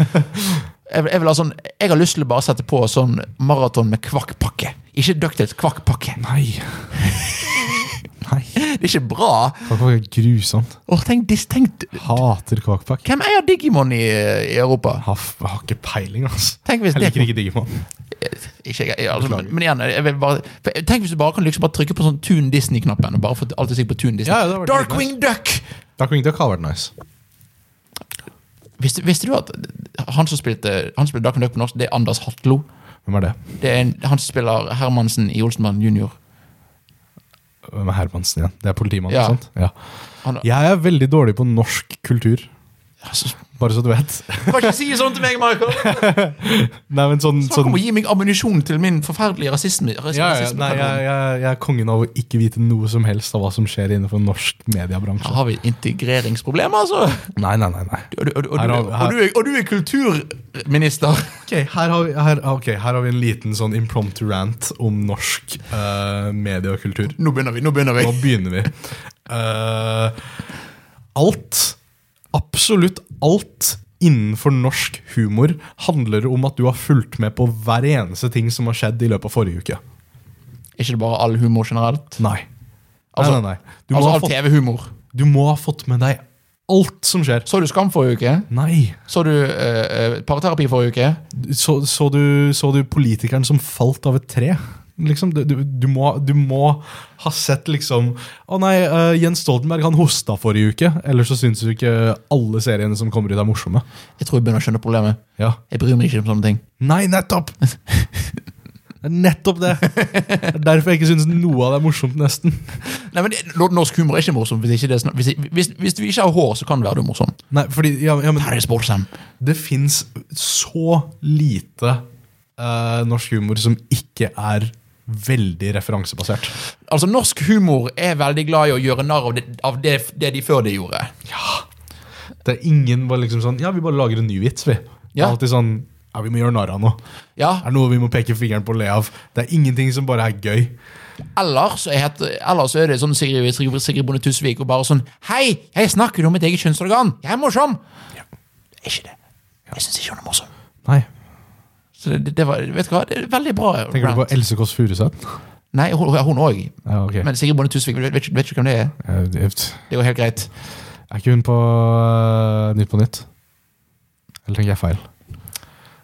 S1: vil- jeg, vil ha sånn, jeg har lyst til å bare sette på sånn maraton med kvakkpakke. Ikke Ducktails, kvakkpakke.
S2: Nei. Nei.
S1: Det er ikke bra.
S2: Kvakk er grusomt.
S1: Åh, tenk, dis- tenk
S2: Hater Kvakk.
S1: Hvem eier Digimon i, i Europa?
S2: Har, har ikke peiling, altså.
S1: Tenk hvis
S2: Jeg
S1: det
S2: liker ikke Digimon.
S1: ikke, jeg, jeg- altså, men, men igjen, jeg vil bare, for, jeg- Tenk hvis du bare kan liksom bare trykke på sånn Tune Disney-knappen. Og bare få alt til å si på Tune Disney
S2: Ja, ja, det var det.
S1: Darkwing Duck!
S2: Darkwing Duck har vært nice.
S1: Visste, visste du at han som spilte, han som spilte Darkwing Duck på norsk, det er Anders Hatlo?
S2: Hvem er det?
S1: Det er en, han som spiller Hermansen i Olsenmann junior.
S2: Hvem er Hermansen igjen? Det er politimannen,
S1: Ja.
S2: sant? Ja.
S1: Han,
S2: Jeg er veldig dårlig på norsk kultur,
S1: altså,
S2: bare så du vet.
S1: du kan ikke si sånn til meg, Michael!
S2: Nei, men sånn,
S1: Snakk
S2: sånn
S1: om å gi meg ammunisjon til min forferdelige rasisme. ras-
S2: ja, ja,
S1: rasisme-
S2: nei, jeg, jeg, jeg er kongen av å ikke vite noe som helst av hva som skjer innenfor norsk
S1: Her
S2: mediebransje.
S1: har vi integreringsproblemer, altså!
S2: Nei, nei, nei. nei.
S1: Og du, og, du- og, du,
S2: Her har-
S1: og,
S2: her-
S1: du, er- og du er kulturminister!
S2: Ok, her har, vi, her, ok, her har vi en liten sånn impromptu rant om norsk eh, medie og kultur.
S1: Nå begynner vi! nå begynner vi
S2: Nå begynner vi. Eh, alt, absolutt alt innenfor norsk humor handler om at du har fulgt med på hver eneste ting som har skjedd i løpet av forrige uke.
S1: Er ikke det bare all humor generelt?
S2: Nei.
S1: Altså-
S2: nei, nei, nei. Du,
S1: Altså
S2: må ha
S1: all
S2: fått,
S1: TV-humor.
S2: du må ha fått med deg alt som skjer.
S1: Så du Skam forrige uke?
S2: Nei.
S1: Så du eh, eh, parterapi forrige uke?
S2: Så, så, du, så du politikeren som falt av et tre? Liksom, du, du, du, må, du må ha sett liksom Å nei, eh, Jens Stoltenberg han hosta forrige uke. Ellers så syns du ikke alle seriene som kommer ut, er morsomme.
S1: Jeg tror jeg begynner å skjønne problemet.
S2: Ja.
S1: Jeg bryr meg ikke om sånne ting.
S2: Nei, nettopp! Det er nettopp det! Det er derfor jeg ikke syns noe av det er morsomt, nesten.
S1: Nei, men det- Norsk humor er ikke morsom. Hvis, ikke det, er snak- hvis, hvis, hvis du ikke har hår, så kan det være du er morsom.
S2: Nei, fordi, ja, ja, men
S1: Her er det sportshem.
S2: Det fins så lite eh, norsk humor som ikke er veldig referansebasert.
S1: Altså, norsk humor er veldig glad i å gjøre narr av det, av det, det de før de gjorde.
S2: Det er ingen bare liksom sånn Ja, vi bare lager en ny vits, vi. Det er
S1: Ja.
S2: alltid sånn Ja, vi må gjøre narr av noe.
S1: Ja,
S2: Det er noe vi må peke fingeren på og le av. Det er ingenting som bare er gøy.
S1: Eller så, er het- eller så er det sånn Sigrid, Sigrid, Sigrid Bonde Tusvik og bare sånn Hei, jeg snakker om mitt eget kjønnsorgan! Jeg er morsom! Er ikke det. Jeg syns ikke hun er morsom.
S2: Nei.
S1: Så det, det var, vet du hva, det er veldig bra.
S2: Tenker du på
S1: rant.
S2: Else Kåss Furuseth?
S1: Nei, hun òg. Hun også.
S2: Ja, ok.
S1: Men Sigrid Bonde Tusvik, vet, vet, vet ikke hvem det er?
S2: Eh, det-
S1: Det går helt greit.
S2: er ikke hun på eh, Nytt på Nytt? Eller tenker jeg feil?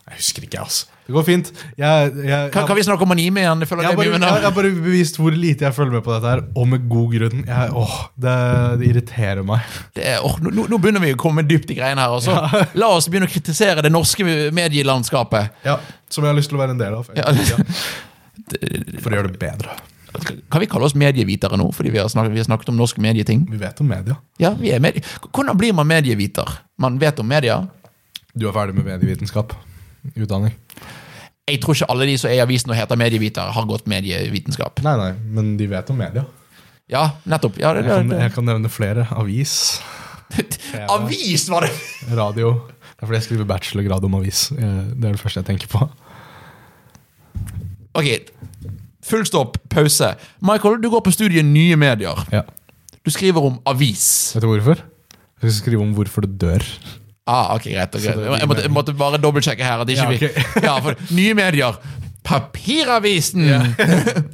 S2: Jeg husker ikke, altså. Det går fint. Jeg, jeg,
S1: Kan, kan vi snakke om anime igjen? Jeg føler det er
S2: jeg har bare,
S1: mye
S2: jeg,
S1: unna.
S2: har bare bevist hvor lite jeg følger med på dette her, og med god grunn. Jeg, åh, det, det irriterer meg.
S1: Det er, åh, nå, nå- nå begynner vi å komme dypt i greiene her. Også. La oss begynne å kritisere det norske medielandskapet.
S2: Ja, Som jeg har lyst til å være en del av.
S1: Ja.
S2: For å gjøre det bedre.
S1: Kan vi kalle oss medievitere nå, fordi vi har snakket, vi har snakket om norske medieting?
S2: Vi vet om media.
S1: Ja, vi er medie. Hvordan blir man medieviter? Man vet om media.
S2: Du er ferdig med medievitenskap. Utdanning.
S1: Jeg tror ikke alle de som er i avisen og heter medievitere, har gått medievitenskap.
S2: Nei, nei, men de vet om media.
S1: Ja, nettopp. Ja, det,
S2: Jeg kan,
S1: det,
S2: jeg kan nevne flere. Avis,
S1: det. Avis, var det!
S2: radio. Det er fordi jeg skriver bachelorgrad om avis. Eh, Det er det første jeg tenker på.
S1: Ok, full stopp, pause. Michael, du går på studiet Nye medier.
S2: Ja.
S1: Du skriver om avis.
S2: Vet du hvorfor? Jeg skal skrive om hvorfor det dør.
S1: Ah, ok, greit. ok.
S2: Så det blir
S1: Jeg, måtte, jeg måtte bare dobbeltsjekke her. At ikke
S2: Ja,
S1: vi, ja, for Nye medier. Papiravisen!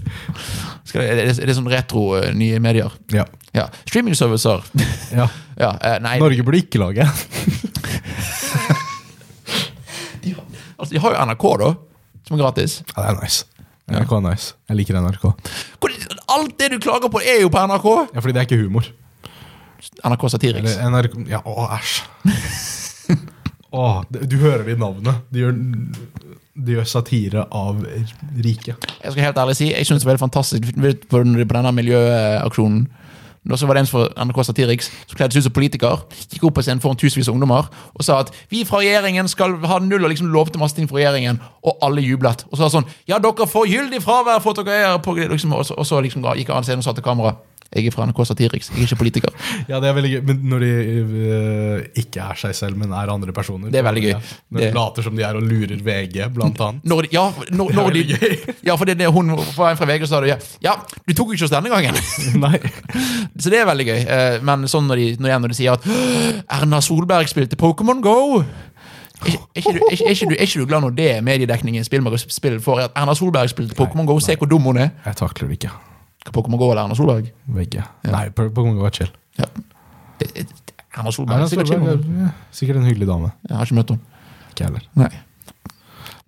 S1: Skal det, er, det, er det sånn retro eh, nye medier?
S2: Ja.
S1: Ja. Streamingservicer.
S2: ja.
S1: ja, eh, nei,
S2: Norge burde ikke lage en.
S1: altså, de har jo NRK, da. Som er gratis.
S2: Ja, det er nice. NRK er nice. Jeg liker NRK.
S1: Hvor- Alt det du klager på, er jo på NRK!
S2: Ja, fordi det er ikke humor.
S1: NRK Satiriks.
S2: Eller NRK Ja, å, æsj. Åh, det- du hører det i navnet. De gjør, de gjør satire av rike.
S1: Jeg skal helt ærlig si, jeg synes det var helt fantastisk Vet du, på den- på denne miljøaksjonen. Da så var det en fra NRK Satiriks som kledde seg ut som politiker. Gikk opp på scenen foran tusenvis av ungdommer og sa at vi fra regjeringen skal ha null, og liksom lovte masse ting fra regjeringen. Og alle jublet. Og så sa han sånn Ja, dere får gyldig fravær for at dere er på liksom, Og så, og så liksom, ga- gikk han av scenen og sa til kamera Jeg er fra NRK Satiriks, jeg er ikke politiker.
S2: Ja, det er veldig gøy. Men når de eh, ikke er seg selv, men er andre personer.
S1: Det er veldig gøy.
S2: Ja, Når de
S1: Det-
S2: later som de er og lurer VG, blant annet.
S1: Når de, ja, når, når
S2: Det er veldig
S1: de, ja, for det, er det hun var en fra VG som sa det. ja, Ja, du tok jo ikke oss denne gangen.
S2: Nei.
S1: Så det er veldig gøy. eh, Men sånn når de, når de, når de sier at «Åh, Erna Solberg spilte Pokémon Go er ikke, er, ikke, du- er, ikke, er, ikke du, er ikke du glad når det er mediedekningen spillmag- spill får? At Erna Solberg spilte Pokémon Go, se hvor dum hun er.
S2: Jeg takler det ikke.
S1: Hva Pokémon Go eller Erna Solberg?
S2: VG. Nei, på, på Kongo var chill.
S1: Ja. Det- det- Erna Solberg
S2: Erna
S1: er sikkert
S2: Solberg
S1: ikke
S2: er ja, sikkert en hyggelig dame.
S1: Jeg har ikke møtt henne.
S2: Ikke jeg heller.
S1: Nei.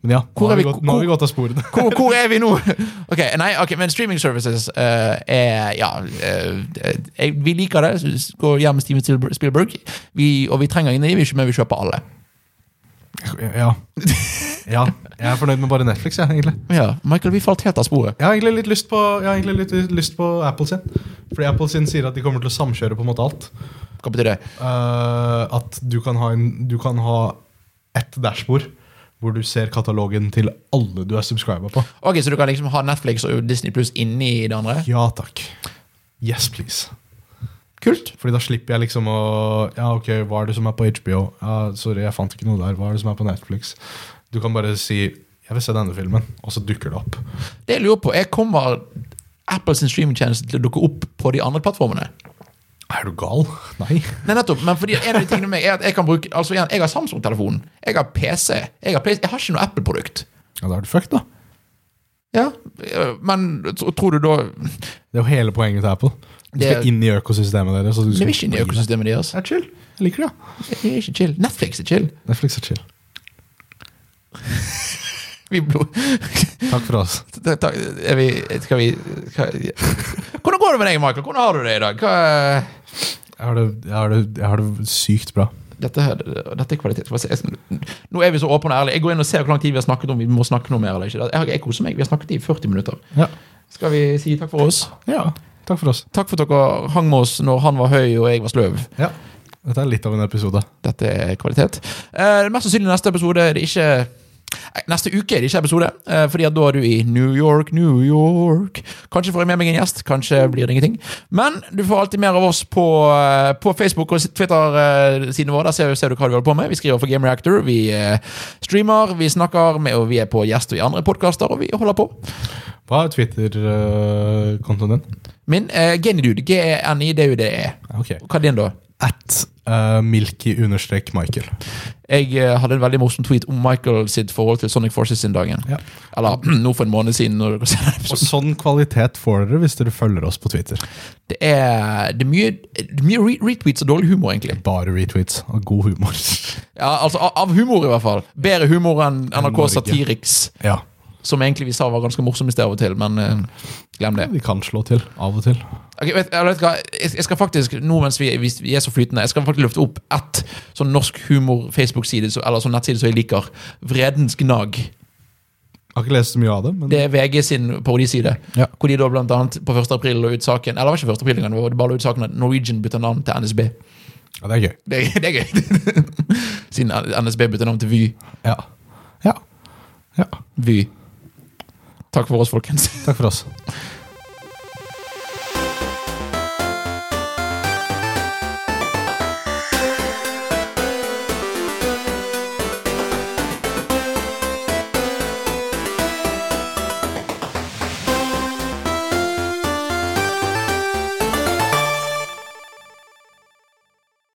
S2: Men ja,
S1: Hvor
S2: nå
S1: er
S2: har vi
S1: vi-
S2: gått, nå har vi gått av sporene.
S1: Hvor, hvor er vi nå? Ok, nei, ok, Men streaming services eh, er Ja. eh, eh, vi liker det. så Gå hjem med Steven Spielberg- Spielberg. Vi, og vi trenger ingen av dem, vi er ikke med, vi kjøper alle.
S2: Ja. ja. Jeg er fornøyd med bare Netflix, jeg, egentlig.
S1: Ja, Michael, vi falt helt av sporet.
S2: Jeg har egentlig litt lyst på, jeg har egentlig litt lyst på Apple sin. Fordi Apple sin sier at de kommer til å samkjøre på en måte alt.
S1: Hva betyr det?
S2: Eh, at du kan ha, en, du kan ha ett dashbord hvor du ser katalogen til alle du er subscriber på.
S1: Ok, Så du kan liksom ha Netflix og Disney Pluss inni det andre?
S2: Ja takk. Yes, please.
S1: Kult.
S2: Fordi da slipper jeg liksom å Ja, ok, hva er det som er på HBO? Ja, sorry, jeg fant ikke noe der. Hva er det som er på Netflix? Du kan bare si 'Jeg vil se denne filmen', og så dukker det opp.
S1: Det jeg lurer på, er kommer Apples streamingtjeneste til å dukke opp på de andre plattformene?
S2: Er du gal? Nei.
S1: Nei, nettopp, men fordi en av de tingene med meg er at jeg kan bruke Altså igjen, jeg har Samsung-telefon, jeg har PC, jeg har PlayStation, jeg har ikke noe Apple-produkt.
S2: Ja, da er du fucked, da.
S1: Ja, øh, men tro- tror du da
S2: Det er jo hele poenget til Apple. Du
S1: Det er-
S2: skal inn i økosystemet deres. og du
S1: Vi
S2: skal
S1: er ikke inne i økosystemet deres.
S2: Det er chill. Jeg liker det. ja.
S1: Det er ikke chill. Netflix er chill.
S2: Netflix er chill.
S1: Vi blod...
S2: Takk for oss.
S1: Ta- ta- Er vi Skal vi skal, Hvordan går det med deg, Michael? Hvordan har du det i dag? Hva
S2: Jeg har det, jeg har det, jeg har det sykt bra.
S1: dette, her, dette er kvalitet. Skal bare se, jeg- Nå er vi så åpne og ærlige. Jeg går inn og ser hvor lang tid vi har snakket om. Vi må snakke noe mer eller ikke. Jeg, har- jeg koser meg. Vi har snakket i 40 minutter.
S2: Ja.
S1: Skal vi si takk for oss?
S2: Takk for oss.
S1: Takk for at dere hang med oss når han var høy og jeg var sløv.
S2: Ja. Dette er litt av en episode.
S1: Dette er kvalitet. Eh, mest sannsynlig neste episode er det ikke Nei, Neste uke er det ikke episode, eh, Fordi at da er du i New York, New York. Kanskje får jeg med meg en gjest, kanskje blir det ingenting. Men du får alltid mer av oss på, eh, på Facebook og Twitter-sidene våre. Der ser, ser du hva du holder på med. Vi skriver for Game Reactor, vi eh, streamer, vi snakker, med, og vi er på gjest og i andre podkaster, og vi holder på.
S2: Hva er Twitter-kontoen din?
S1: Min eh, Genidude, G-E-N-I-D-U-D-E.
S2: Ja, Ok.
S1: Hva er din, da?
S2: at eh, milky-michael.
S1: Jeg eh, hadde en veldig morsom tweet om Michael sitt forhold til Sonic Forces sin dagen.
S2: Ja.
S1: Eller nå for en måned siden. når dere ser den
S2: Og
S1: episoden.
S2: sånn kvalitet får dere hvis dere følger oss på Twitter.
S1: Det er, det er mye, det er mye re retweets og dårlig humor, egentlig.
S2: Bare retweets og god humor.
S1: Ja, altså Av av humor, i hvert fall. Bedre humor enn NRK
S2: Norge.
S1: Satiriks,
S2: ja,
S1: som egentlig vi sa var ganske morsom i sted av og til, men eh, glem det.
S2: vi kan slå til av og til.
S1: Ok, vet, jeg, vet hva, jeg jeg skal faktisk, nå mens vi, hvis vi er så flytende, jeg skal faktisk løfte opp ett sånn norsk humor-Facebook-side, så- eller sånn nettside som jeg liker. Vredens Gnag.
S2: Jeg har ikke lest så mye av det, men
S1: Det er VG sin parodiside.
S2: Ja.
S1: Hvor de da blant annet på 1. april la ut saken Eller det var ikke 1. april engang, det var bare la ut saken at Norwegian bytter navn til NSB.
S2: Ja, det er gøy.
S1: Det, det er gøy. Siden NSB bytter navn til Vy.
S2: Ja. ja. ja.
S1: Vy. Takk for oss, folkens.
S2: Takk for oss.